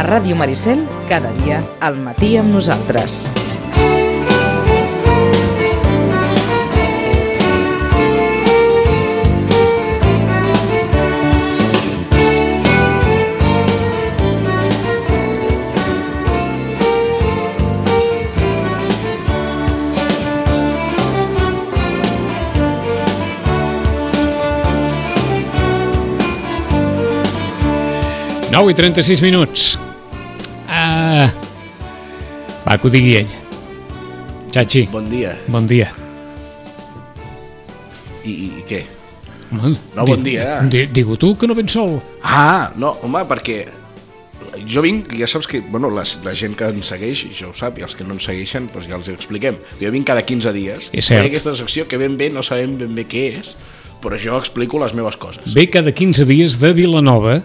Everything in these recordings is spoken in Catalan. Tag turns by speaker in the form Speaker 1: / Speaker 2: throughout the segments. Speaker 1: A Ràdio Maricel, cada dia, al matí amb nosaltres.
Speaker 2: Exacte. 9 i 36 minuts. Uh, va, que ho digui ell. Xachi,
Speaker 3: Bon dia.
Speaker 2: bon dia.
Speaker 3: I, i, i què?
Speaker 2: Home,
Speaker 3: No,
Speaker 2: di-
Speaker 3: bon dia.
Speaker 2: Di, digo tu, que no vens sol.
Speaker 3: Ah, no, home, perquè jo vinc, ja saps que, bueno, les, la gent que ens segueix, ja ho sap, i els que no ens segueixen, doncs ja els ho expliquem. Jo vinc cada 15 dies,
Speaker 2: És cert.
Speaker 3: faig aquesta secció que ben bé no sabem ben bé què és, però jo explico les meves coses.
Speaker 2: Ve cada 15 dies de Vilanova,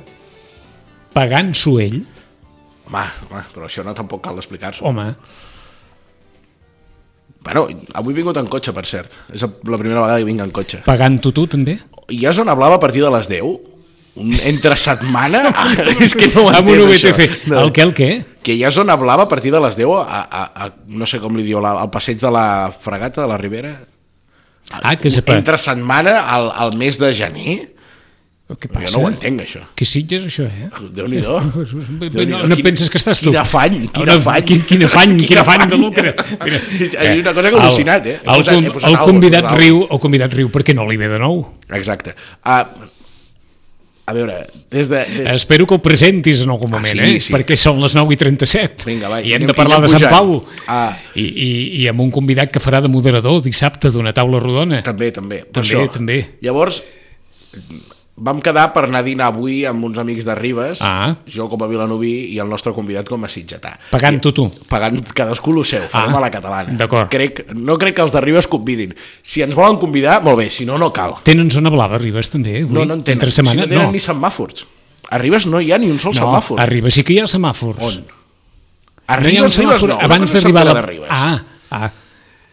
Speaker 2: pagant-s'ho ell.
Speaker 3: Home, home, però això no tampoc cal explicar-s'ho.
Speaker 2: Home,
Speaker 3: Bueno, avui he vingut en cotxe, per cert. És la primera vegada que vinc en cotxe.
Speaker 2: pagant-ho tu també.
Speaker 3: I ja zona blava a partir de les 10? Un entre setmana? Ah, és que no ho
Speaker 2: Amb un
Speaker 3: entès, això.
Speaker 2: UBTC.
Speaker 3: No.
Speaker 2: El què, el què?
Speaker 3: que hi ha zona blava a partir de les 10 a, a, a no sé com li diu, la- al passeig de la fregata de la Ribera.
Speaker 2: Ah, que, sepa,
Speaker 3: Entre setmana al, al mes de gener?
Speaker 2: què
Speaker 3: Passa?
Speaker 2: passa?
Speaker 3: Jo no ho entenc, això.
Speaker 2: Que sitges, això, eh?
Speaker 3: Déu-n'hi-do.
Speaker 2: Bé, no, no
Speaker 3: Quin-
Speaker 2: penses que estàs tu.
Speaker 3: Quin afany, quin
Speaker 2: Ara,
Speaker 3: afany.
Speaker 2: Quin, quin afany, quin afany de lucre. Eh, Mira,
Speaker 3: Hi ha una cosa que he
Speaker 2: el-
Speaker 3: al·lucinat, eh? He
Speaker 2: El,
Speaker 3: posat- he
Speaker 2: com-
Speaker 3: posat
Speaker 2: el
Speaker 3: algo, he
Speaker 2: convidat
Speaker 3: posat algo.
Speaker 2: riu, el convidat riu, per què no li ve de nou?
Speaker 3: Exacte. A, a veure, des de... Des
Speaker 2: Espero que ho presentis en algun moment,
Speaker 3: Ah, sí,
Speaker 2: eh?
Speaker 3: sí.
Speaker 2: Perquè són les 9 i 37
Speaker 3: Vinga, va,
Speaker 2: i hem
Speaker 3: anem-
Speaker 2: de parlar
Speaker 3: anem
Speaker 2: de Sant
Speaker 3: pujant.
Speaker 2: Pau
Speaker 3: Ah.
Speaker 2: I, i, i amb un convidat que farà de moderador dissabte d'una taula rodona.
Speaker 3: També, també. Per
Speaker 2: També, també.
Speaker 3: Llavors, vam quedar per anar a dinar avui amb uns amics de Ribes,
Speaker 2: Ah.
Speaker 3: jo com a vilanoví i el nostre convidat com a sitgetà.
Speaker 2: Pagant-ho tu.
Speaker 3: Pagant cadascú el seu, farem
Speaker 2: Ah,
Speaker 3: a la catalana.
Speaker 2: d'acord.
Speaker 3: Crec, no crec que els de Ribes convidin. Si ens volen convidar, molt bé, si no, no cal.
Speaker 2: Tenen zona blava, Ribes, també? eh, avui?
Speaker 3: No, no en tenen.
Speaker 2: Entre setmana?
Speaker 3: Si no tenen ni semàfors. A Ribes no hi ha ni un sol
Speaker 2: no,
Speaker 3: semàfor.
Speaker 2: a Ribes sí que hi ha semàfors.
Speaker 3: On? A
Speaker 2: No hi
Speaker 3: Ribes,
Speaker 2: ha un
Speaker 3: Ribes
Speaker 2: semàfor
Speaker 3: no,
Speaker 2: abans
Speaker 3: no
Speaker 2: d'arribar a la...
Speaker 3: De Ribes.
Speaker 2: Ah, ah,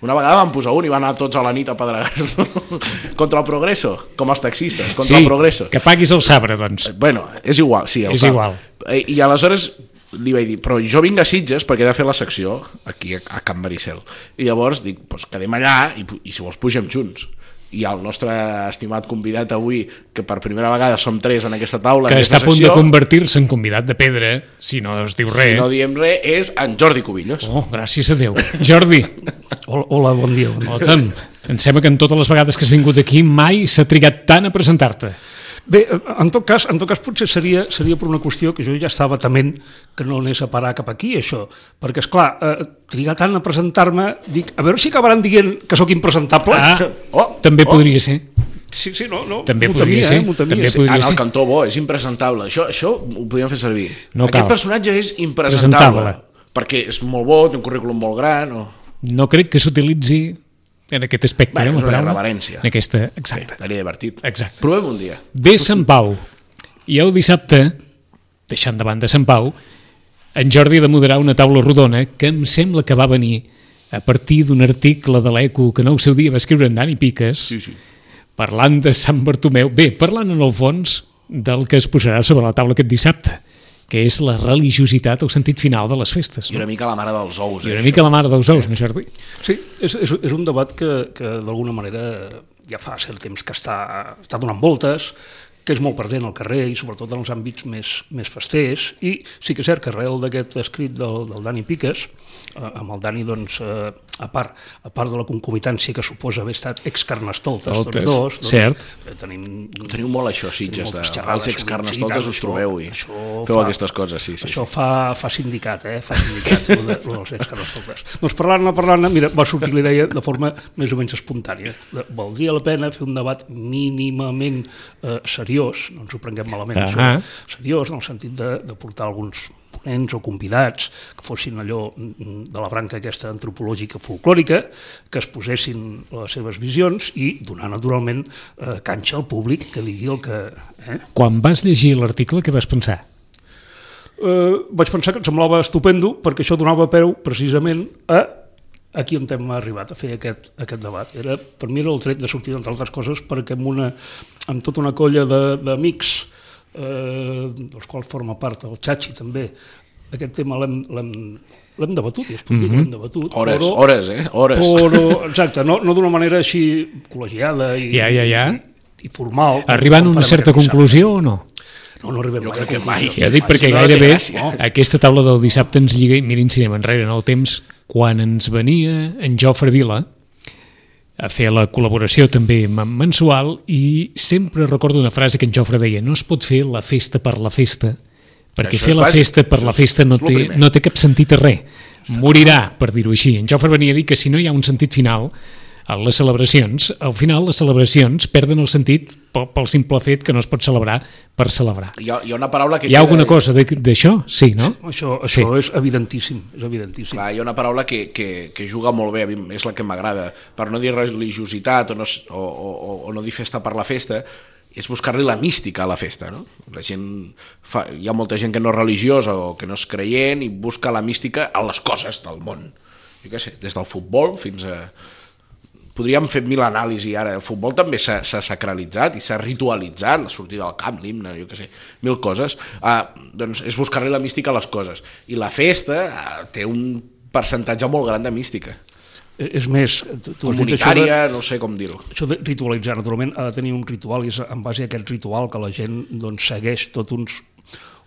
Speaker 3: Una vegada van posar un i van anar tots a la nit a pedregar-lo. contra el Progreso, com els taxistes, contra
Speaker 2: sí,
Speaker 3: el Progreso.
Speaker 2: que paguis el sabre, doncs.
Speaker 3: Bueno, és igual, sí. el
Speaker 2: És
Speaker 3: sap.
Speaker 2: igual.
Speaker 3: Eh, I aleshores li vaig dir, però jo vinc a Sitges perquè he de fer la secció aquí a, a Can Maricel. I llavors dic, doncs quedem allà i, pu- i si vols pugem junts. I el nostre estimat convidat avui, que per primera vegada som tres en aquesta taula,
Speaker 2: que
Speaker 3: en
Speaker 2: està
Speaker 3: aquesta
Speaker 2: a punt de
Speaker 3: secció,
Speaker 2: convertir-se en convidat de pedra, si no es diu
Speaker 3: si
Speaker 2: res.
Speaker 3: no diem res, és en Jordi Cubillos.
Speaker 2: Oh, gràcies a Déu. Jordi,
Speaker 4: Hola, hola bon dia. Bon dia.
Speaker 2: escolta'm, em sembla que en totes les vegades que has vingut aquí mai s'ha trigat tant a presentar-te.
Speaker 4: Bé, en tot cas, en tot cas potser seria, seria per una qüestió que jo ja estava tement que no anés a parar cap aquí, això. Perquè, és clar, eh, trigar tant a presentar-me, dic, a veure si acabaran dient que sóc impresentable.
Speaker 2: Ah,
Speaker 3: Oh,
Speaker 2: també
Speaker 3: oh.
Speaker 2: podria ser.
Speaker 4: Sí, sí, no, no.
Speaker 2: També
Speaker 4: m'ho
Speaker 2: podria
Speaker 4: temia,
Speaker 2: ser,
Speaker 4: Eh, m'ho temia.
Speaker 2: també
Speaker 4: Sí.
Speaker 2: podria-
Speaker 3: en
Speaker 2: ser.
Speaker 3: el cantó bo, és impresentable. Això, això ho podríem fer servir.
Speaker 2: No
Speaker 3: Aquest
Speaker 2: cal.
Speaker 3: personatge és impresentable.
Speaker 2: Presentable.
Speaker 3: Perquè és molt bo, té un currículum molt gran, o...
Speaker 2: No crec que s'utilitzi en aquest aspecte.
Speaker 3: Bueno,
Speaker 2: eh, la
Speaker 3: és una
Speaker 2: paraula.
Speaker 3: reverència.
Speaker 2: En aquesta,
Speaker 3: Sí,
Speaker 2: exacte.
Speaker 3: estaria divertit.
Speaker 2: Exacte.
Speaker 3: Provem un dia.
Speaker 2: Ve Sant Pau. I el dissabte, deixant de banda Sant Pau, en Jordi ha de moderar una taula rodona que em sembla que va venir a partir d'un article de l'ECO que no el seu dia va escriure en Dani Piques,
Speaker 3: Sí, sí.
Speaker 2: parlant de Sant Bartomeu, bé, parlant en el fons del que es posarà sobre la taula aquest dissabte, que és la religiositat, el sentit final de les festes.
Speaker 3: I
Speaker 2: No?
Speaker 3: una mica la mare dels ous. eh?
Speaker 2: I una mica la mare dels ous, no, Jordi?
Speaker 4: Sí, és, és, és un debat que, que d'alguna manera ja fa cert temps que està, està donant voltes, que és molt present al carrer i sobretot en els àmbits més, més festers i sí que és cert que arrel d'aquest escrit del, del Dani Piques, eh, amb el Dani doncs, eh, a part, a part de la concomitància que suposa haver estat ex-carnestoltes,
Speaker 2: Escoltes,
Speaker 4: tots dos, doncs,
Speaker 2: cert.
Speaker 4: eh, tenim...
Speaker 3: Ho teniu molt això, Sitges,
Speaker 4: moltes
Speaker 3: de,
Speaker 4: xerrades,
Speaker 3: els excarnestoltes
Speaker 4: xerrades,
Speaker 3: us
Speaker 4: això-
Speaker 3: trobeu i
Speaker 4: això
Speaker 3: feu
Speaker 4: fa-
Speaker 3: aquestes coses, sí, sí.
Speaker 4: Això fa, fa sindicat, eh? Fa sindicat, lo, de, lo dels excarnestoltes. Doncs parlant-ne, parlant-ne, mira, va sortir la idea de forma més o menys espontània. De, valdria la pena fer un debat mínimament eh, seriós, no ens ho prenguem malament, uh
Speaker 2: Ahà.
Speaker 4: -huh. seriós en el sentit de, de portar alguns ponents o convidats que fossin allò mm, de la branca aquesta antropològica folclòrica, que es posessin les seves visions i donar naturalment eh, canxa al públic que digui el que... Eh?
Speaker 2: Quan vas llegir l'article, què vas pensar?
Speaker 4: eh, vaig pensar que em semblava estupendo perquè això donava peu precisament a aquí on hem arribat a fer aquest, aquest debat. Era, per mi era el tret de sortir, entre altres coses, perquè amb, una, amb tota una colla de- d'amics, eh, dels quals forma part el Xachi també, aquest tema l'hem l'hem- l'hem debatut, i es pot
Speaker 2: Mhm.
Speaker 4: dir que l'hem debatut.
Speaker 3: Hores, hores, eh? Hores.
Speaker 4: Però, exacte, no, no d'una manera així col·legiada i,
Speaker 2: Ja, ja, ja.
Speaker 4: i formal.
Speaker 2: Arribant a
Speaker 4: Com
Speaker 2: una
Speaker 4: farem
Speaker 2: certa
Speaker 4: aquest dissabte.
Speaker 2: conclusió o no?
Speaker 4: No, no arribem
Speaker 3: Jo
Speaker 4: mai a
Speaker 3: crec que mai.
Speaker 4: conclusió.
Speaker 2: Ja dic perquè
Speaker 3: si no, no té
Speaker 2: gairebé
Speaker 3: gràcia.
Speaker 2: aquesta taula del dissabte ens lliga i mirin cinema enrere en el temps quan ens venia en Jofre Vila a fer la col·laboració també men- mensual i sempre recordo una frase que en Jofre deia no es pot fer la festa per la festa perquè
Speaker 3: Això
Speaker 2: fer
Speaker 3: és
Speaker 2: la
Speaker 3: bàsic.
Speaker 2: festa per la
Speaker 3: Això és-
Speaker 2: festa no
Speaker 3: és lo
Speaker 2: té,
Speaker 3: primer.
Speaker 2: no té cap sentit a res morirà, per dir-ho així en Jofre venia a dir que si no hi ha un sentit final a les celebracions, al final les celebracions perden el sentit pel, pel simple fet que no es pot celebrar per celebrar
Speaker 3: Hi ha, hi ha una paraula que...
Speaker 2: hi ha
Speaker 3: queda-
Speaker 2: alguna cosa de- d'això? Sí, no?
Speaker 4: Això,
Speaker 2: Sí.
Speaker 4: això és evidentíssim, és evidentíssim.
Speaker 3: Clar, hi ha una paraula que, que, que juga molt bé, a mi és la que m'agrada, per no dir religiositat o no, s- o, o, o no dir festa per la festa, és buscar-li la mística a la festa, no? La gent fa, hi ha molta gent que no és religiosa o que no és creient i busca la mística a les coses del món. Jo què sé, des del futbol fins a... Podríem fer mil anàlisi ara. El futbol també s'ha s'ha sacralitzat i s'ha ritualitzat, la sortida del camp, l'himne, jo què sé, mil coses. Ah, doncs és buscar-li la mística a les coses. I la festa ah, té un percentatge molt gran de mística.
Speaker 4: Eh, És més, tu, tu has dit això de,
Speaker 3: Comunitària, no sé com dir-ho.
Speaker 4: això de ritualitzar, naturalment ha de tenir un ritual i és en base a aquest ritual que la gent doncs, segueix tot uns,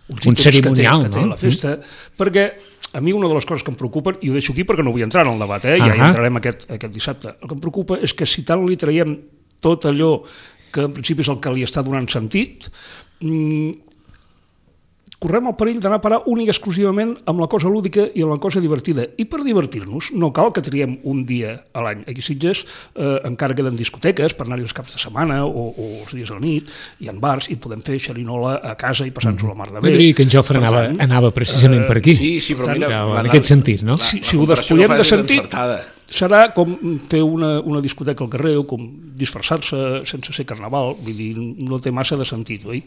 Speaker 4: uns
Speaker 2: Un
Speaker 4: ítems
Speaker 2: cerimonial,
Speaker 4: que té, que té
Speaker 2: no? Mm.
Speaker 4: la festa, perquè a mi una de les coses que em preocupen, i ho deixo aquí perquè no vull entrar en el debat, eh? ja hi
Speaker 2: Ahà.
Speaker 4: entrarem aquest, aquest dissabte, el que em preocupa és que si tant li traiem tot allò que en principi és el que li està donant sentit, mm, correm el perill d'anar a parar únic exclusivament amb la cosa lúdica i amb la cosa divertida. I per divertir-nos no cal que triem un dia a l'any. Aquí a Sitges eh, encara queden discoteques per anar-hi els caps de setmana o, o els dies a la nit, hi ha bars i podem fer xerinola a casa i passar-nos la mar de
Speaker 2: Jo
Speaker 4: bé.
Speaker 2: diria que en Jofre anava, anava precisament per aquí.
Speaker 3: eh? Sí, sí, però mira...
Speaker 2: Ja,
Speaker 3: la-
Speaker 2: en aquest sentit, no?
Speaker 4: si,
Speaker 3: la
Speaker 4: si ho
Speaker 3: comparació que
Speaker 4: despullem
Speaker 3: fas
Speaker 4: de
Speaker 3: és
Speaker 4: sentit,
Speaker 3: encertada.
Speaker 4: serà com fer una, una discoteca al carrer o com disfressar-se sense ser carnaval. Vull dir, no té massa de sentit, oi?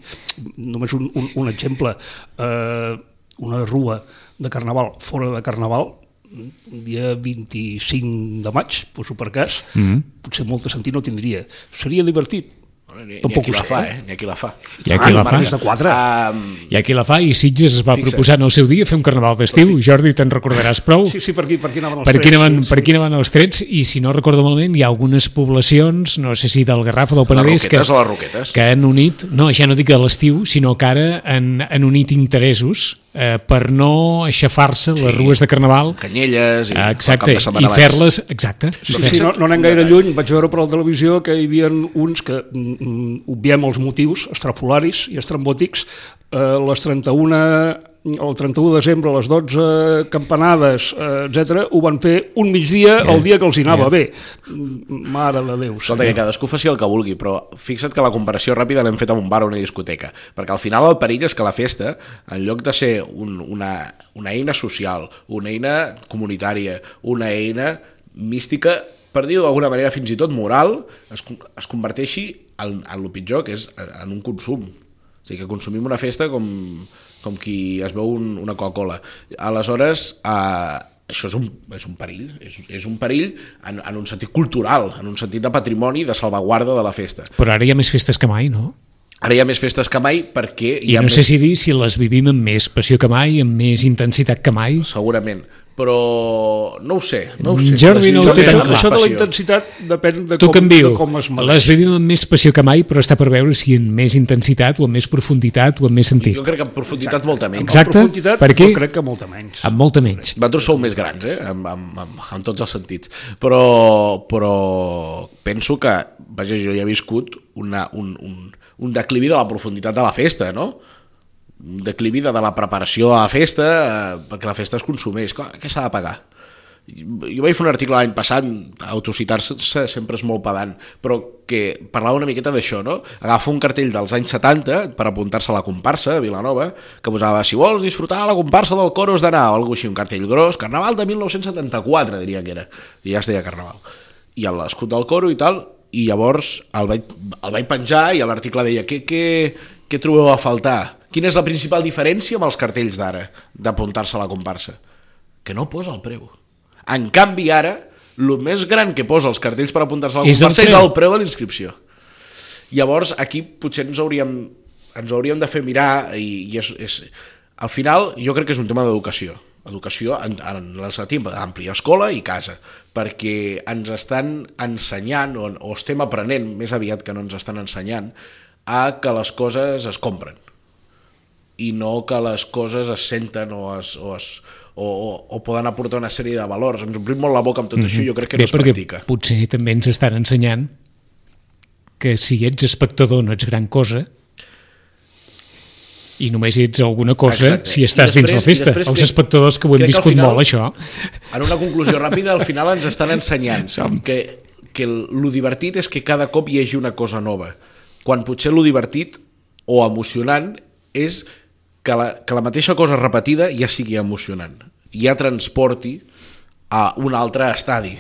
Speaker 4: Només un, un, un exemple. Eh, una rua de carnaval fora de carnaval, un dia 25 de maig, poso per cas, mm -hmm.
Speaker 2: Mm-hmm.
Speaker 4: potser molt de sentit no tindria. Seria divertit.
Speaker 3: Bueno, ni, ni
Speaker 4: Tampoc
Speaker 3: aquí
Speaker 4: ho
Speaker 3: la
Speaker 4: sé,
Speaker 3: fa,
Speaker 4: eh?
Speaker 3: eh? Ni aquí la fa. Ah,
Speaker 2: Hi ha qui la fa.
Speaker 4: Més de quatre.
Speaker 3: Um,
Speaker 2: I aquí la fa, i Sitges es va
Speaker 3: Fixa't.
Speaker 2: proposar en el seu dia fer un carnaval d'estiu. Jordi, te'n recordaràs prou.
Speaker 4: Sí, sí, per aquí, per aquí anaven els
Speaker 2: Per aquí,
Speaker 4: trets,
Speaker 2: anaven,
Speaker 4: sí,
Speaker 2: per
Speaker 4: sí.
Speaker 2: aquí anaven els trets i si no recordo malament hi ha algunes poblacions, no sé si del Garraf o del Penedès que,
Speaker 3: Roquetes, a les Roquetes.
Speaker 2: que han unit, no ja no dic a l'estiu sinó que ara han, han unit interessos eh, per no aixafar-se les rues de Carnaval
Speaker 3: Canyelles i el
Speaker 2: exacte,
Speaker 3: cap de setmana
Speaker 2: i
Speaker 3: abans.
Speaker 2: fer-les exacte, i
Speaker 4: Sí,
Speaker 2: fer-
Speaker 4: sí, no, no anem gaire lluny, vaig veure per la televisió que hi havia uns que, mm, mm, obviem els motius, estrafolaris i estrambòtics, eh, les 31 el 31 de desembre a les 12 campanades, eh, etc ho van fer un migdia el dia que els hi anava bé. Mm, Mare de Déu.
Speaker 3: Escolta, que
Speaker 4: senyor.
Speaker 3: cadascú faci el que vulgui, però fixa't que la comparació ràpida l'hem fet amb un bar o una discoteca, perquè al final el perill és que la festa, en lloc de ser un, una, una eina social, una eina comunitària, una eina mística, per dir-ho d'alguna manera fins i tot moral, es, con- es converteixi en, en el pitjor, que és en en un consum. O sigui, que consumim una festa com, com qui es veu un, una Coca-Cola. Aleshores, eh, això és un, és un perill, és, és un perill en, en un sentit cultural, en un sentit de patrimoni, de salvaguarda de la festa.
Speaker 2: però ara hi ha més festes que mai, no?
Speaker 3: Ara hi ha més festes que mai perquè hi
Speaker 2: I
Speaker 3: ha
Speaker 2: no
Speaker 3: més...
Speaker 2: sé si dir si les vivim amb més passió que mai, amb més intensitat que mai.
Speaker 3: Segurament, però no ho sé, no ho sé.
Speaker 2: Jordi no ho té tan
Speaker 3: Desviament amb
Speaker 2: clar.
Speaker 4: Això de la
Speaker 3: passió.
Speaker 4: intensitat depèn de
Speaker 2: Tu
Speaker 4: com,
Speaker 2: canvio.
Speaker 4: de com es
Speaker 2: Les
Speaker 4: mereix.
Speaker 2: vivim amb més passió que mai, però està per veure si en més intensitat o en més profunditat o en més sentit.
Speaker 3: Jo crec que en profunditat molta menys.
Speaker 2: Exacte.
Speaker 4: profunditat,
Speaker 2: per aquí?
Speaker 4: jo crec que molta menys.
Speaker 2: Amb molta menys.
Speaker 3: Vosaltres sou més grans, eh? En, en, en, en tots els sentits. Però, però penso que, vaja, jo hi he viscut una, un, un, un declivi de la profunditat de la festa, no? Un declivi de, de la preparació a la festa, eh, perquè la festa es consumeix. Clar, Què s'ha de pagar? Jo vaig fer un article l'any passat, autocitar-se sempre és molt pedant, però que parlava una miqueta d'això, no? Agafa un cartell dels anys 70 per apuntar-se a la comparsa a Vilanova, que posava, si vols disfrutar la comparsa del Coros d'anar, o alguna així, un cartell gros, Carnaval de 1974, diria que era, i ja es deia Carnaval. I a l'escut del Coro i tal, i llavors el vaig, el vaig penjar i a l'article deia, què, què, què trobeu a faltar? Quina és la principal diferència amb els cartells d'ara, d'apuntar-se a la comparsa? Que no posa el preu. En canvi, ara, el més gran que posa els cartells per apuntar-se a la
Speaker 2: És el
Speaker 3: comparsa és
Speaker 2: preu.
Speaker 3: el preu de la inscripció. Llavors, aquí potser ens hauríem, ens hauríem de fer mirar i, i és, és, al final jo crec que és un tema d'educació educació en, en l'ensenyament ampli, escola i casa, perquè ens estan ensenyant o, o estem aprenent, més aviat que no ens estan ensenyant, a que les coses es compren i no que les coses es senten o, es, o, es, o, o, o poden aportar una sèrie de valors. Ens omplim molt la boca amb tot mm -hmm. això, jo crec que
Speaker 2: Mhm. Bé,
Speaker 3: no es
Speaker 2: perquè
Speaker 3: practica.
Speaker 2: potser també ens estan ensenyant que si ets espectador no ets gran cosa i només ets alguna cosa
Speaker 3: Exacte.
Speaker 2: si
Speaker 3: I
Speaker 2: estàs dins
Speaker 3: després-
Speaker 2: la
Speaker 3: i
Speaker 2: festa.
Speaker 3: després
Speaker 2: Els
Speaker 3: que-
Speaker 2: espectadors que ho hem
Speaker 3: crec que al
Speaker 2: viscut
Speaker 3: final-
Speaker 2: molt, això.
Speaker 3: En una conclusió ràpida, al final ens estan ensenyant
Speaker 2: Som.
Speaker 3: que, que lo divertit és que cada cop hi hagi una cosa nova, quan potser lo divertit o emocionant és que la, que la mateixa cosa repetida ja sigui emocionant, ja transporti a un altre estadi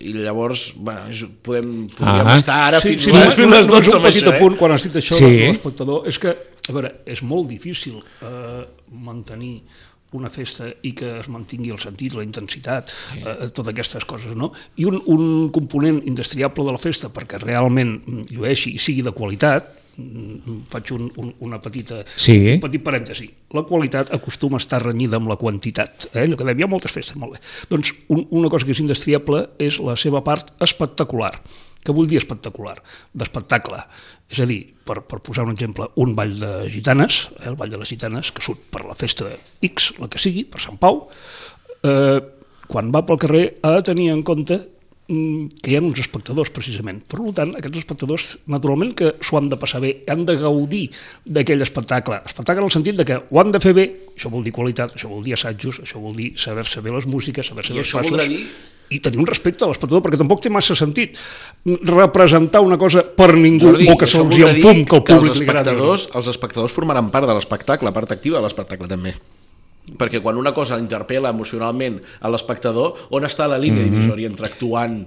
Speaker 3: i llavors bueno, és- podem, podríem
Speaker 2: Ah.
Speaker 3: estar ara
Speaker 4: sí,
Speaker 3: fins,
Speaker 4: sí,
Speaker 3: a-
Speaker 4: sí,
Speaker 3: fins
Speaker 4: un,
Speaker 3: les
Speaker 4: un,
Speaker 3: 12
Speaker 4: un
Speaker 3: amb
Speaker 4: petit
Speaker 3: això, eh?
Speaker 4: apunt quan has dit això
Speaker 2: Sí.
Speaker 4: sí. de l'espectador és que, a veure, és molt difícil eh, mantenir una festa i que es mantingui el sentit, la intensitat, eh, totes aquestes coses, no? I un, un component indestriable de la festa perquè realment mm, llueixi i sigui de qualitat, mm, faig un, un, una petita,
Speaker 2: Sí.
Speaker 4: un petit parèntesi, la qualitat acostuma a estar renyida amb la quantitat. Eh? Allò que dèiem, hi ha moltes festes, molt bé. Doncs un, una cosa que és indestriable és la seva part espectacular. Què vull dir espectacular? D'espectacle. És a dir, per, per posar un exemple, un ball de gitanes, eh? el ball de les gitanes, que surt per la festa X, la que sigui, per Sant Pau, eh, quan va pel carrer ha de tenir en compte mm, que hi ha uns espectadors, precisament. Per tant, aquests espectadors, naturalment que s'ho han de passar bé, han de gaudir d'aquell espectacle. Espectacle en el sentit de que ho han de fer bé, això vol dir qualitat, això vol dir assajos, això vol dir saber-se bé les músiques, saber-se
Speaker 3: I
Speaker 4: bé els
Speaker 3: això voldrà
Speaker 4: passos
Speaker 3: dir
Speaker 4: i tenir un respecte a l'espectador, perquè tampoc té massa sentit representar una cosa per ningú,
Speaker 3: Jordi,
Speaker 4: o que
Speaker 3: això
Speaker 4: se'ls hi
Speaker 3: voldrà dir
Speaker 4: empum, que el públic
Speaker 3: els
Speaker 4: li agradi.
Speaker 3: espectadors, els espectadors formaran part de l'espectacle, part activa de l'espectacle també. Perquè quan una cosa interpel·la emocionalment a l'espectador, on està la línia mm
Speaker 4: Mhm.
Speaker 3: -hmm. divisòria entre actuant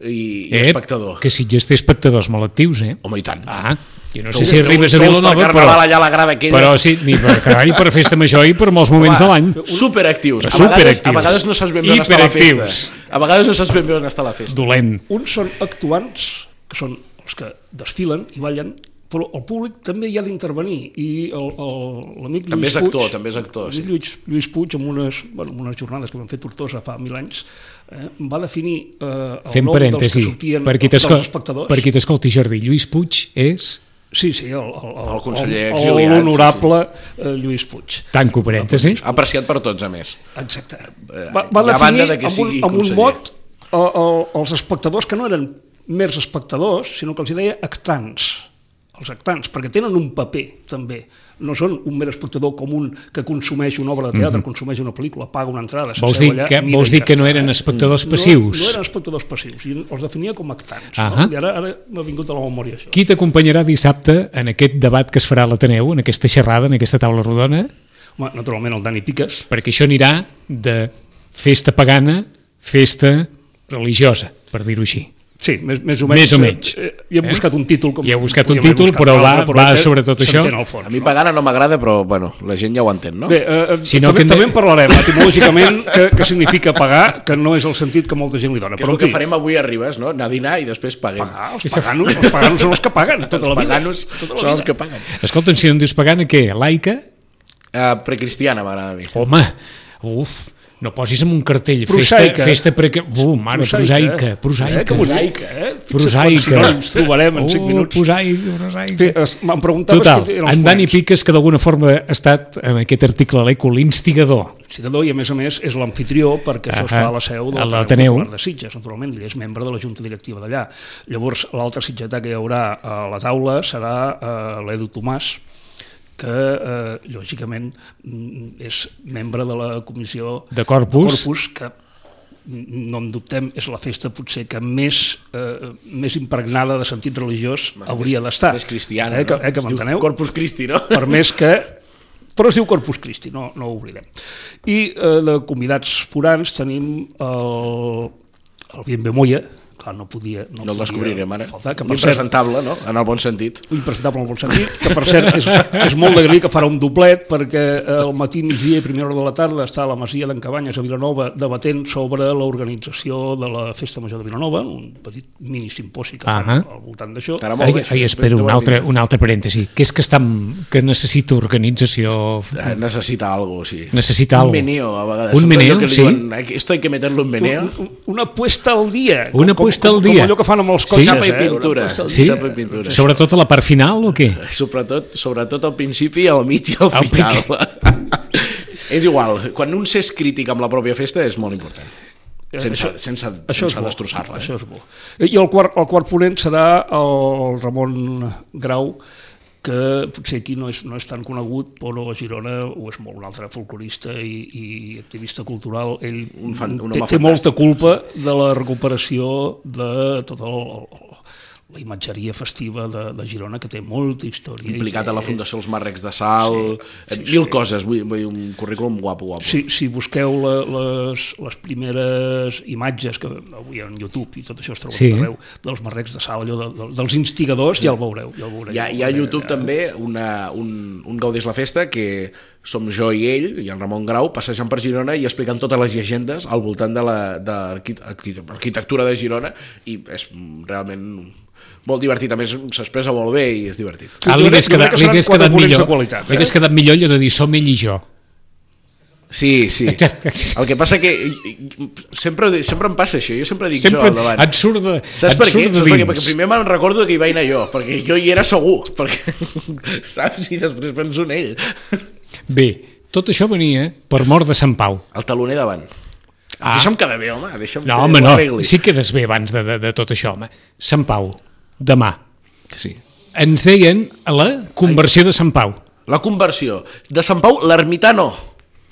Speaker 3: i, i espectador?
Speaker 2: eh? que Sitges té espectadors molt actius, eh?
Speaker 3: Home, i tant.
Speaker 2: Ah, jo no
Speaker 3: Segur
Speaker 2: sé
Speaker 3: que
Speaker 2: si arribes a
Speaker 3: uns tous
Speaker 2: Vilanova,
Speaker 3: per
Speaker 2: però...
Speaker 3: Carnaval allà a la grada aquella.
Speaker 2: Però sí, ni per Carnaval, ni per Festa Major, i per molts moments de l'any.
Speaker 3: Superactius. A vegades,
Speaker 2: Superactius.
Speaker 3: a vegades no saps ben bé on està la
Speaker 2: Hiperactius.
Speaker 3: festa. A vegades no saps ben bé on està la festa.
Speaker 2: Dolent.
Speaker 4: Uns són actuants, que són els que desfilen i ballen, però el públic també hi ha d'intervenir i el- el- l'amic
Speaker 3: També
Speaker 4: Lluís
Speaker 3: és actor,
Speaker 4: Puig,
Speaker 3: també és actor, sí.
Speaker 4: l'amic Lluís, Lluís Puig amb unes, bueno, amb unes jornades que van fer a Tortosa fa mil anys eh, va definir eh, el
Speaker 2: Fem
Speaker 4: nom dels que
Speaker 2: parèntesi.
Speaker 4: sortien
Speaker 2: Per qui
Speaker 4: dels
Speaker 2: t'esco-
Speaker 4: espectadors
Speaker 2: per qui t'escolti, Jordi, Lluís Puig és...
Speaker 4: sí, sí, el, el,
Speaker 3: El conseller
Speaker 4: el-
Speaker 3: exiliat,
Speaker 4: l'honorable eh, Lluís Puig
Speaker 2: Tanco parèntesi.
Speaker 3: Apreciat per tots, a més.
Speaker 4: Exacte.
Speaker 3: Eh,
Speaker 4: Va, va
Speaker 3: i a banda
Speaker 4: definir
Speaker 3: de que
Speaker 4: amb un,
Speaker 3: sigui
Speaker 4: amb un
Speaker 3: conseller.
Speaker 4: mot eh, el- els espectadors que no eren mers espectadors, sinó que els hi deia actants els actants, perquè tenen un paper també, no són un mer espectador com un que consumeix una obra de teatre, mm -hmm. consumeix una pel·lícula, paga una entrada,
Speaker 2: Mhm. Vols
Speaker 4: s'asseu
Speaker 2: dir
Speaker 4: allà,
Speaker 2: que-
Speaker 4: mira
Speaker 2: vols
Speaker 4: i
Speaker 2: dir que no
Speaker 4: ja
Speaker 2: eren
Speaker 4: està, eh?
Speaker 2: espectadors
Speaker 4: no,
Speaker 2: passius?
Speaker 4: No eren espectadors passius, i els definia com actants.
Speaker 2: Ahà.
Speaker 4: no? I ara, ara m'ha vingut a la memòria això.
Speaker 2: Qui t'acompanyarà dissabte en aquest debat que es farà a l'Ateneu, en aquesta xerrada, en aquesta taula rodona?
Speaker 4: Home, naturalment el Dani Piques,
Speaker 2: Perquè això anirà de festa pagana, festa religiosa, per dir-ho així.
Speaker 4: Sí, més, més o menys.
Speaker 2: Més o menys.
Speaker 4: Eh, hi hem
Speaker 2: Eh?
Speaker 4: buscat un títol. Com
Speaker 2: Hi heu buscat un
Speaker 4: podíem haver
Speaker 2: títol,
Speaker 4: buscat
Speaker 2: però
Speaker 4: un
Speaker 2: va-
Speaker 4: altre,
Speaker 2: va
Speaker 4: aquest
Speaker 2: sobre tot això.
Speaker 4: s'entén al fons,
Speaker 3: A mi
Speaker 4: no?
Speaker 3: pagana no m'agrada, però bueno, la gent ja ho entén, no?
Speaker 4: Bé, eh,
Speaker 2: Si
Speaker 4: si
Speaker 2: no,
Speaker 4: no, també,
Speaker 2: que-
Speaker 4: també en parlarem etimològicament que, que significa pagar, que no és el sentit que molta gent li dona.
Speaker 3: que és
Speaker 4: Però
Speaker 3: el
Speaker 4: en
Speaker 3: que
Speaker 4: fi,
Speaker 3: farem avui a Ribes, no? Anar a dinar i després paguem.
Speaker 4: pagar, els paganos, els paganos són els que paguen tota la
Speaker 3: Els
Speaker 4: vida.
Speaker 3: paganos
Speaker 4: tota la
Speaker 3: són els
Speaker 4: vida.
Speaker 3: que paguen.
Speaker 2: Escolta'm, si no em dius pagana, què? Laica?
Speaker 3: Eh, Uh, precristiana m'agrada a mi.
Speaker 2: Home, uf, No posis en un cartell
Speaker 4: Prosaica.
Speaker 2: festa, festa pre... Uh, mare, prosaica, prosaica.
Speaker 4: Eh, que bonica, eh? Fixa't
Speaker 2: Prosaica.
Speaker 4: quants sinònims trobarem en 5
Speaker 2: oh,
Speaker 4: minuts.
Speaker 2: Prosaica, prosaica.
Speaker 4: Bé, es- Em preguntaves...
Speaker 2: Total,
Speaker 4: que eren els
Speaker 2: en Dani
Speaker 4: bonics.
Speaker 2: Piques, que d'alguna forma ha estat en aquest article a l'Eco l'instigador.
Speaker 4: investigador i, a més a més, és l'anfitrió perquè això
Speaker 2: Ahà.
Speaker 4: està a la seu de
Speaker 2: A l'Ateneu.
Speaker 4: l'Ateneu Popular de Sitges, naturalment, i és membre de la Junta Directiva d'allà. Llavors, l'altre sitgetà que hi haurà a la taula serà eh, l'Edu Tomàs, que, eh, lògicament, mm, és membre de la comissió
Speaker 2: De Corpus.
Speaker 4: Corpus que mm, no en dubtem, és la festa potser que més, eh, més impregnada de sentit religiós hauria d'estar.
Speaker 3: És cristiana,
Speaker 4: eh, que,
Speaker 3: no?
Speaker 4: eh, que
Speaker 3: Es diu
Speaker 4: m'enteneu?
Speaker 3: Corpus Christi, no?
Speaker 4: per més que però es diu Corpus Christi, no, no ho oblidem. I eh, de convidats forans tenim el, el Bien Moya, clar, no podia...
Speaker 3: No el
Speaker 4: podia
Speaker 3: descobrirem ara.
Speaker 4: Faltar, que per cert,
Speaker 3: Impresentable, no? En el bon sentit.
Speaker 4: impresentable en el bon sentit, que per cert és, és molt d'agrair que farà un doblet perquè eh, al matí, migdia i primera hora de la tarda està a la Masia d'en Cabanyes a Vilanova debatent sobre l'organització de la Festa Major de Vilanova, un petit mini simposi que fan
Speaker 2: Ahà.
Speaker 4: al voltant d'això.
Speaker 3: Estarà molt
Speaker 2: Ai,
Speaker 3: bé,
Speaker 2: ai,
Speaker 3: això.
Speaker 2: espera, un
Speaker 3: Divertit.
Speaker 2: altre, un altre parèntesi, que és que, està, amb- que necessita organització,
Speaker 4: Mm.
Speaker 3: Eh, Necessita algo, sí.
Speaker 2: necessita
Speaker 3: Un
Speaker 2: alguna
Speaker 3: meneo, a vegades.
Speaker 2: Un
Speaker 3: Tot allò
Speaker 2: meneo,
Speaker 3: que li
Speaker 2: sí.
Speaker 3: Diuen, esto hay que meterlo en meneo.
Speaker 4: Un- un- Una puesta al dia.
Speaker 2: Una puesta al dia.
Speaker 4: Com allò que fan amb els
Speaker 2: Sí.
Speaker 4: cotxes.
Speaker 3: Xapa i
Speaker 4: eh?
Speaker 3: pintura.
Speaker 4: Una puesta al
Speaker 2: Sí?
Speaker 4: dia.
Speaker 3: Xapa i pintura.
Speaker 2: Sobretot a la part final o què?
Speaker 3: Sobretot, sobretot al principi, al mig i al
Speaker 2: Al
Speaker 3: final. és igual, quan un s'és crític amb la pròpia festa és molt important.
Speaker 4: Eh,
Speaker 3: Sense,
Speaker 4: això-
Speaker 3: sense,
Speaker 4: Això és
Speaker 3: sense
Speaker 4: bo.
Speaker 3: destrossar-la.
Speaker 4: Això
Speaker 3: Eh?
Speaker 4: és bo. I el quart, el quart ponent serà el Ramon Grau, que potser aquí no és, no és tan conegut, però a Girona ho és molt, un altre folclorista i, i activista cultural. Ell
Speaker 3: Un fan- un
Speaker 4: té,
Speaker 3: home
Speaker 4: té molta culpa de la recuperació de tot el, el la imatgeria festiva de, de Girona, que té molta història. i
Speaker 3: Implicat
Speaker 4: té-
Speaker 3: a la Fundació Els Marrecs de Sal, sí, sí, mil coses, vull, vull dir, un currículum guapo, guapo.
Speaker 4: si, si busqueu la, les, les primeres imatges que avui en YouTube i tot això es troba
Speaker 2: Sí.
Speaker 4: sí. arreu, dels marrecs de sal, allò de, de, dels instigadors, ja el veureu. Ja el veureu
Speaker 3: Hi ha, hi ha a YouTube també una, un, un Gaudís la Festa que som jo i ell, i en Ramon Grau, passejant per Girona i explicant totes les llegendes al voltant de l'arquitectura de, Girona i és realment molt divertit. A més, s'expressa molt bé i és divertit.
Speaker 4: Jo
Speaker 2: Ah, li
Speaker 4: crec-
Speaker 2: hagués
Speaker 4: jo crec
Speaker 2: quedat,
Speaker 4: que
Speaker 2: li
Speaker 4: seran
Speaker 2: hagués
Speaker 4: quatre
Speaker 2: quedat
Speaker 4: ponents de
Speaker 2: millor,
Speaker 4: qualitat, eh?
Speaker 2: li hagués quedat millor allò de dir som ell i jo.
Speaker 3: Sí, sí.
Speaker 2: Exacte.
Speaker 3: El que passa que sempre, sempre em passa això, jo sempre dic
Speaker 2: Sempre
Speaker 3: jo al davant.
Speaker 2: et surt de,
Speaker 3: Saps
Speaker 2: et
Speaker 3: per què?
Speaker 2: surt de
Speaker 3: Saps per què? Perquè
Speaker 2: dins.
Speaker 3: primer me'n recordo que hi va anar jo, perquè jo hi era segur, perquè, saps? I després penso en ell.
Speaker 2: Bé, tot això venia per mort de Sant Pau.
Speaker 3: El taloner davant. Ah. Deixa'm quedar bé, home. Deixa'm
Speaker 2: No,
Speaker 3: que
Speaker 2: home,
Speaker 3: ho
Speaker 2: no,
Speaker 3: arregli.
Speaker 2: sí que quedes bé abans de, de, de tot això, home. Sant Pau, demà.
Speaker 3: sí.
Speaker 2: Ens deien a la conversió de Sant Pau.
Speaker 3: La conversió. De Sant Pau, l'ermitano.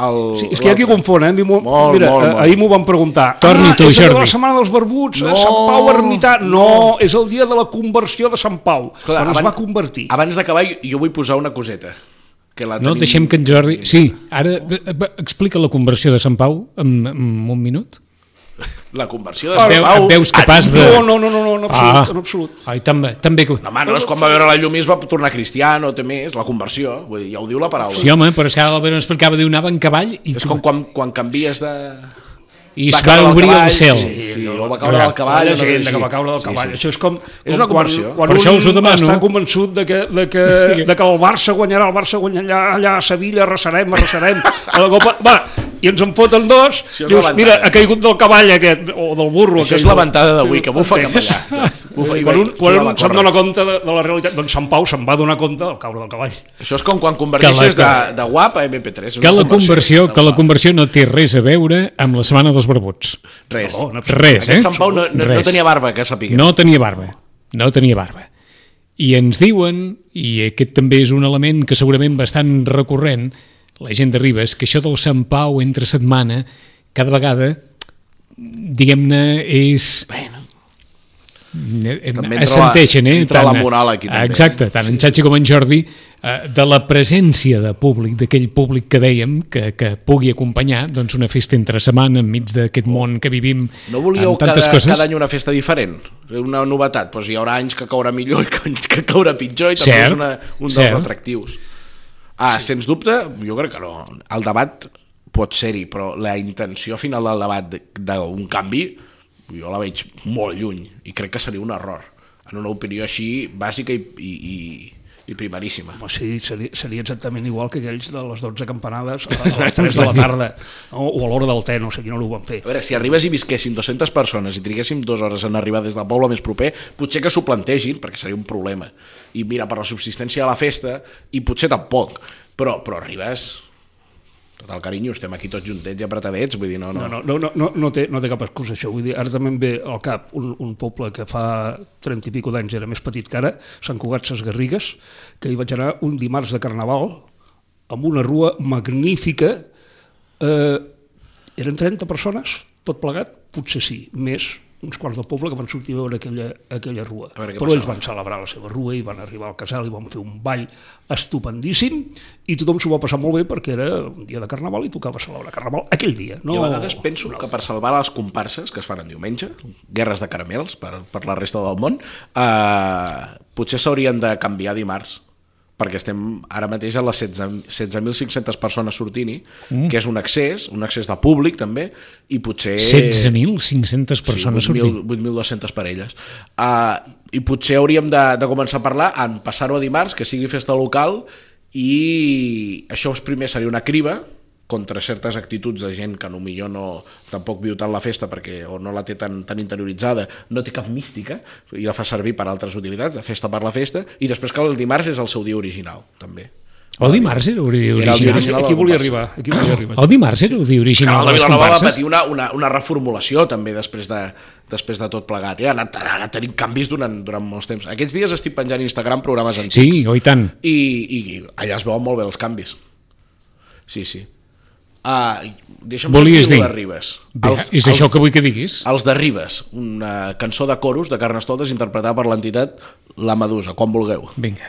Speaker 3: El...
Speaker 4: Sí, és que hi ha qui
Speaker 3: l'altre.
Speaker 4: confon, eh? A mi m'ho-
Speaker 3: Molt,
Speaker 4: Mira,
Speaker 3: molt,
Speaker 4: eh,
Speaker 3: molt.
Speaker 4: ahir m'ho van preguntar.
Speaker 2: Torni
Speaker 4: ah,
Speaker 2: tu,
Speaker 4: és el dia de
Speaker 2: Jordi.
Speaker 4: la Setmana dels Barbuts, no,
Speaker 3: No,
Speaker 4: Sant Pau Ermità. No, és el dia de la conversió de Sant Pau, Clar, quan es
Speaker 3: aban-
Speaker 4: va convertir.
Speaker 3: Abans d'acabar, jo- jo vull posar una coseta. Que la
Speaker 2: No,
Speaker 3: tenim...
Speaker 2: deixem que en Jordi... Sí, ara de- de- explica la conversió de Sant Pau en, en un minut.
Speaker 3: La conversió de
Speaker 2: Et,
Speaker 3: Sant
Speaker 2: veu,
Speaker 3: Pau... ah,
Speaker 2: et veus capaç de... Ah.
Speaker 4: No, no, no, no, no, en absolut, en absolut.
Speaker 2: Ai, també, també... que-
Speaker 3: Home, no, és quan va veure la llum i es va tornar cristià, no té més, la conversió, vull dir, ja ho diu la paraula.
Speaker 2: Sí, home, però és que ara l'Albert explicava diu, anava en cavall i,
Speaker 3: és com quan, quan canvies de...
Speaker 2: i es
Speaker 3: va
Speaker 2: va
Speaker 3: caure del
Speaker 2: obrir
Speaker 3: cavall,
Speaker 2: el cel.
Speaker 3: sí, sí, sí, o va caure del cavall,
Speaker 4: la
Speaker 3: o no sé,
Speaker 4: llegenda
Speaker 3: sí.
Speaker 4: que va caure del
Speaker 3: Sí,
Speaker 4: cavall.
Speaker 3: sí.
Speaker 4: Això és com,
Speaker 3: És
Speaker 4: com
Speaker 3: una
Speaker 4: quan,
Speaker 3: conversió.
Speaker 4: quan
Speaker 2: Per això
Speaker 4: un
Speaker 2: us ho demano.
Speaker 4: està convençut de que, de que,
Speaker 2: Sí.
Speaker 4: de que el Barça guanyarà, el Barça guanyarà allà a Sevilla, arrasarem, arrasarem, a la Copa... Va, i ens en foten dos,
Speaker 3: Això és la
Speaker 4: dius,
Speaker 3: ventana.
Speaker 4: mira, ha caigut del cavall aquest, o del burro.
Speaker 3: Això és
Speaker 4: aquell
Speaker 3: la
Speaker 4: del-
Speaker 3: ventada d'avui, que bufa cap
Speaker 4: Entens?
Speaker 3: allà. saps? Bufa
Speaker 4: I
Speaker 3: i
Speaker 4: quan
Speaker 3: ve-
Speaker 4: un, quan
Speaker 3: surt a la
Speaker 4: un se'n
Speaker 3: corda.
Speaker 4: dona compte de, de la realitat, doncs Sant Pau se'n va donar compte del caure del cavall.
Speaker 3: Això és com quan converteixes
Speaker 2: Que
Speaker 3: de,
Speaker 2: la-
Speaker 3: de guap a MP3. és una
Speaker 2: Que la conversió,
Speaker 3: de
Speaker 2: que la
Speaker 3: guap.
Speaker 2: conversió no té res a veure amb la Setmana dels Barbuts.
Speaker 3: Res.
Speaker 4: No, no,
Speaker 2: Res, eh?
Speaker 3: Aquest Sant Pau no, no, no
Speaker 2: Res.
Speaker 3: tenia barba, que sapiguem.
Speaker 2: No tenia barba, no tenia barba. I ens diuen, i aquest també és un element que segurament bastant recurrent, la gent de Ribes, que això del Sant Pau entre setmana, cada vegada, diguem-ne, és... Bueno.
Speaker 3: També entra
Speaker 2: Assenteixen,
Speaker 3: la-
Speaker 2: eh?
Speaker 3: entra la moral aquí, també.
Speaker 2: Exacte, tant en Xachi com en Jordi, eh, de la presència de públic, d'aquell públic que dèiem que, que pugui acompanyar doncs, una festa entre setmana enmig d'aquest món que vivim
Speaker 3: No volíeu
Speaker 2: amb tantes
Speaker 3: cada,
Speaker 2: coses.
Speaker 3: cada any una festa diferent? Una novetat? Doncs hi haurà anys que caurà millor i que, anys que caurà pitjor i també
Speaker 2: Cert,
Speaker 3: és una, un dels
Speaker 2: cert.
Speaker 3: atractius. Ah, sí. sens dubte, jo crec que no. El debat pot ser-hi, però la intenció final del debat de- d'un canvi jo la veig molt lluny i crec que seria un error en una opinió així bàsica i, i, i, i i primeríssima.
Speaker 4: Home, sí, seria, seria exactament igual que aquells de les 12 campanades a les 3 de la tarda o, o a l'hora del té, no sé quina hora ho van fer.
Speaker 3: A veure, si arribes i visquessin 200 persones i triguéssim dues hores en arribar des del poble més proper, potser que s'ho plantegin, perquè seria un problema. I mira, per la subsistència de la festa, i potser tampoc, però, però arribes... Tot el carinyo, estem aquí tots juntets i apretadets, vull dir, no, no.
Speaker 4: No, no, no, no, no, no, té, no té cap excusa això, vull dir, ara també em ve al cap un, un poble que fa 30 i pico d'anys era més petit que ara, Sant Cugat Ses Garrigues, que hi vaig anar un dimarts de Carnaval amb una rua magnífica, eh, eren 30 persones, tot plegat, potser sí, més uns quarts del poble que van sortir a veure aquella, aquella rua.
Speaker 3: A veure què
Speaker 4: Però ells
Speaker 3: passava.
Speaker 4: van celebrar la seva rua i van arribar al casal i van fer un ball estupendíssim i tothom s'ho va passar molt bé perquè era un dia de Carnaval i tocava celebrar Carnaval aquell dia. No,
Speaker 3: No, I a vegades penso que per salvar les comparses que es fan en diumenge, guerres de caramels per, per la resta del món, eh, potser s'haurien de canviar dimarts, perquè estem ara mateix a les 16 16.500 persones sortint-hi, mm. que és un accés, un accés de públic també, i potser...
Speaker 2: 16.500 persones
Speaker 3: sí, 8.000
Speaker 2: sortint.
Speaker 3: 8.200 parelles. Uh, I potser hauríem de, de començar a parlar en passar-ho a dimarts, que sigui festa local, i això és primer seria una criba contra certes actituds de gent que millor no tampoc viu tant la festa perquè o no la té tan, tan interioritzada, no té cap mística i la fa servir per altres utilitats, de festa per la festa, i després que el dimarts és el seu dia original, també.
Speaker 2: O dimarts era el dia
Speaker 3: Era el dia
Speaker 2: original.
Speaker 3: original.
Speaker 4: Aquí volia arribar, aquí volia arribar.
Speaker 2: O dimarts era el dia original
Speaker 3: Canal
Speaker 2: de
Speaker 3: de
Speaker 2: les
Speaker 3: Vilanova va
Speaker 2: comparses.
Speaker 3: patir una, una, una reformulació també després de, després de tot plegat. Eh? Ha, anat, ha anat tenint canvis durant, durant molts temps. Aquests dies estic penjant a Instagram programes antics.
Speaker 2: Sí, oi tant.
Speaker 3: I, I allà es veuen molt bé els canvis. Sí, sí. Ah, deixa'm
Speaker 2: Volies dir?
Speaker 3: sentir-ho de Ribes.
Speaker 2: Bé, és això que vull que diguis?
Speaker 3: Els de Ribes, una cançó de coros de Carnestoltes interpretada per l'entitat La Medusa, quan vulgueu.
Speaker 2: Vinga.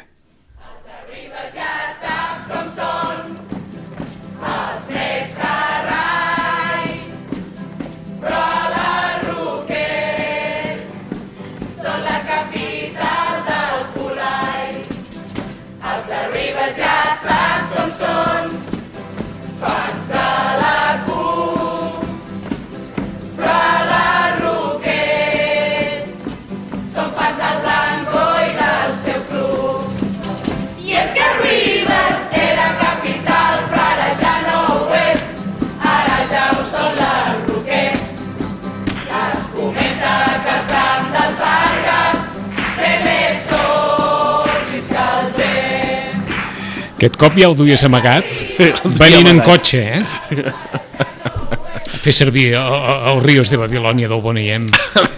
Speaker 5: I és que Ribes era capital, però ara ja no ho és. Ara ja ho són les Roquers. Es comenta que el camp dels Vargas té més socis que el vent.
Speaker 2: Aquest cop ja el duies amagat, venint en cotxe, eh? Fer servir els rios de Babilònia del Boniem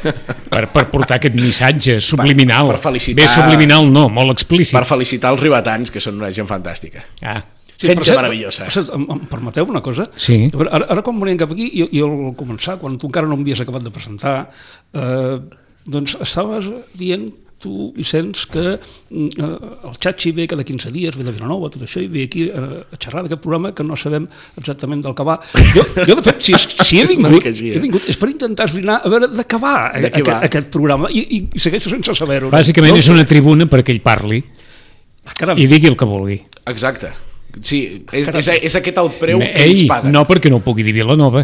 Speaker 2: per, per portar aquest missatge subliminal.
Speaker 3: per felicitar-
Speaker 2: Bé subliminal no, molt explícit.
Speaker 3: Per felicitar els ribetans, que són una gent fantàstica.
Speaker 2: Ah,
Speaker 3: Sí, gent
Speaker 4: per cert,
Speaker 3: meravellosa.
Speaker 4: Per cert, em, em permeteu una cosa?
Speaker 2: Sí.
Speaker 4: A veure, Ara, ara quan venien cap aquí, jo, jo al començar, quan tu encara no m'havies acabat de presentar, eh, doncs estaves dient tu, Vicenç, que mm, eh, el xatxi ve cada 15 dies, ve de Vilanova, tot això, i ve aquí eh, a xerrar d'aquest programa que no sabem exactament del que va. Jo, jo de fet, si, és- si he
Speaker 3: És una
Speaker 4: vingut,
Speaker 3: mica així, eh?
Speaker 4: he vingut és per intentar esbrinar a veure de què va, a,
Speaker 3: De què
Speaker 4: aquest,
Speaker 3: va?
Speaker 4: aquest programa, i, i segueixo sense saber-ho.
Speaker 2: bàsicament
Speaker 4: no? Ah,
Speaker 2: és una tribuna perquè ell parli
Speaker 4: Caram,
Speaker 2: i digui el que vulgui.
Speaker 3: Exacte. Sí, és, és, és aquest el preu que ells
Speaker 2: Ell,
Speaker 3: paguen.
Speaker 2: no perquè no ho pugui dir Vilanova,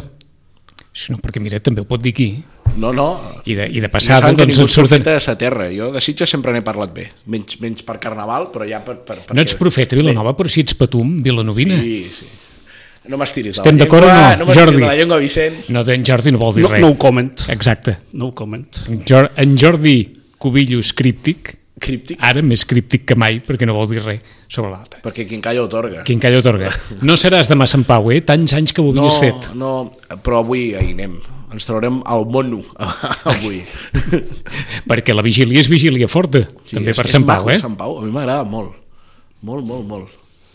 Speaker 2: sinó perquè, mira, també ho pot dir aquí.
Speaker 3: No, no.
Speaker 2: I de, i de
Speaker 3: Ja
Speaker 2: passada,
Speaker 3: saben que
Speaker 2: doncs,
Speaker 3: ningú
Speaker 2: en
Speaker 3: és
Speaker 2: surten...
Speaker 3: profeta de sa terra. Jo de Sitges sempre n'he parlat bé. Menys, menys per Carnaval, però ja per... per, per
Speaker 2: No ets profeta, Vilanova, però si ets patum, vilanovina.
Speaker 3: Sí, sí. No m'estiris de
Speaker 2: Estem
Speaker 3: la
Speaker 2: d'acord o
Speaker 3: llengua, Ah,
Speaker 2: no,
Speaker 3: no m'estiris
Speaker 2: Jordi?
Speaker 3: de la llengua, Vicenç.
Speaker 2: No, en Jordi no vol dir
Speaker 4: no,
Speaker 2: res.
Speaker 4: no ho comment.
Speaker 2: Exacte.
Speaker 4: No ho comment.
Speaker 2: En Jor- En Jordi Cubillos críptic,
Speaker 3: Críptic.
Speaker 2: ara més críptic que mai, perquè no vol dir res sobre l'altre.
Speaker 3: Perquè qui calla otorga.
Speaker 2: Quin callo otorga. No seràs demà Sant Pau, eh? Tants anys que ho
Speaker 3: no,
Speaker 2: havies fet.
Speaker 3: no, però avui hi anem. Ens traurem el mono avui.
Speaker 2: Perquè la vigília és vigília forta, sí, també
Speaker 3: és-
Speaker 2: per
Speaker 3: és
Speaker 2: Sant Pau,
Speaker 3: maco,
Speaker 2: eh?
Speaker 3: Sant Pau, a mi m'agrada molt. Molt, molt, molt.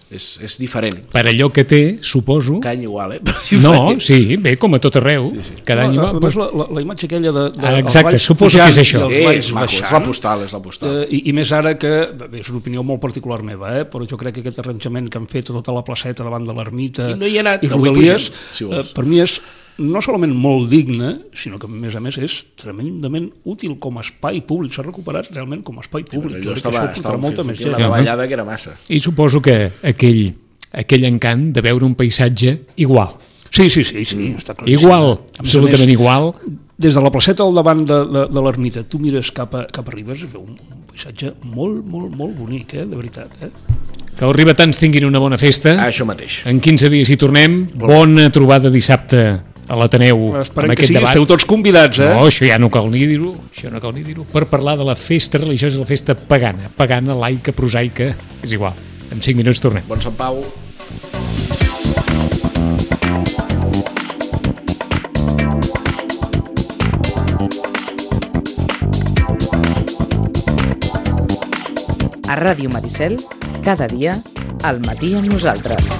Speaker 3: És, és diferent.
Speaker 2: Per allò que té, suposo...
Speaker 3: Cany igual, eh? Però
Speaker 2: No,
Speaker 3: diferent.
Speaker 2: sí, bé, com a tot arreu. Cada any...
Speaker 4: No,
Speaker 2: va-
Speaker 4: a més, la, la, la imatge aquella de... de
Speaker 2: Ah,
Speaker 4: els
Speaker 2: exacte,
Speaker 4: balls
Speaker 2: suposo que és
Speaker 4: pujant
Speaker 2: això.
Speaker 4: i els
Speaker 3: Eh,
Speaker 4: balls
Speaker 3: és maco, és la
Speaker 4: baixant,
Speaker 3: postal, és la postal.
Speaker 4: eh, i, I més ara que, bé, és una opinió molt particular meva, eh, però jo crec que aquest arranjament que han fet a tota la placeta davant de l'ermita
Speaker 3: I no hi he anat,
Speaker 4: i
Speaker 3: però avui
Speaker 4: Rodalies,
Speaker 3: pugem, si vols.
Speaker 4: eh, per mi és no solament molt digne, sinó que a més a més és tremendament útil com a espai públic, s'ha recuperat realment com a espai públic.
Speaker 3: Allò
Speaker 4: crec que
Speaker 3: estava,
Speaker 4: això portarà
Speaker 3: estava
Speaker 4: molta
Speaker 3: fent
Speaker 4: més
Speaker 3: una
Speaker 4: gent.
Speaker 2: la-
Speaker 3: davallada que era massa.
Speaker 2: I suposo que aquell, aquell encant de veure un paisatge igual.
Speaker 3: Mm.
Speaker 4: Sí, sí, sí, sí, està claríssim.
Speaker 2: Igual,
Speaker 4: A més a
Speaker 2: absolutament
Speaker 4: més,
Speaker 2: igual,
Speaker 4: des de la placeta al davant de, de, de l'ermita, tu mires cap a, cap a Ribes, es veu un, un paisatge molt, molt, molt bonic, eh? de veritat. Eh?
Speaker 2: Que els ribetans tinguin una bona festa.
Speaker 3: Això mateix.
Speaker 2: En 15 dies hi tornem. Bona trobada dissabte a l'Ateneu
Speaker 4: Esperem
Speaker 2: amb
Speaker 4: que
Speaker 2: aquest
Speaker 4: sí,
Speaker 2: debat.
Speaker 4: esteu tots convidats. Eh?
Speaker 2: No, això ja no cal ni dir-ho, això no cal ni dir-ho, per parlar de la festa religiosa i la festa pagana, pagana, laica, prosaica, és igual. En 5 minuts tornem.
Speaker 3: Bon Sant Pau.
Speaker 1: A Ràdio Maricel, cada dia, al matí amb nosaltres.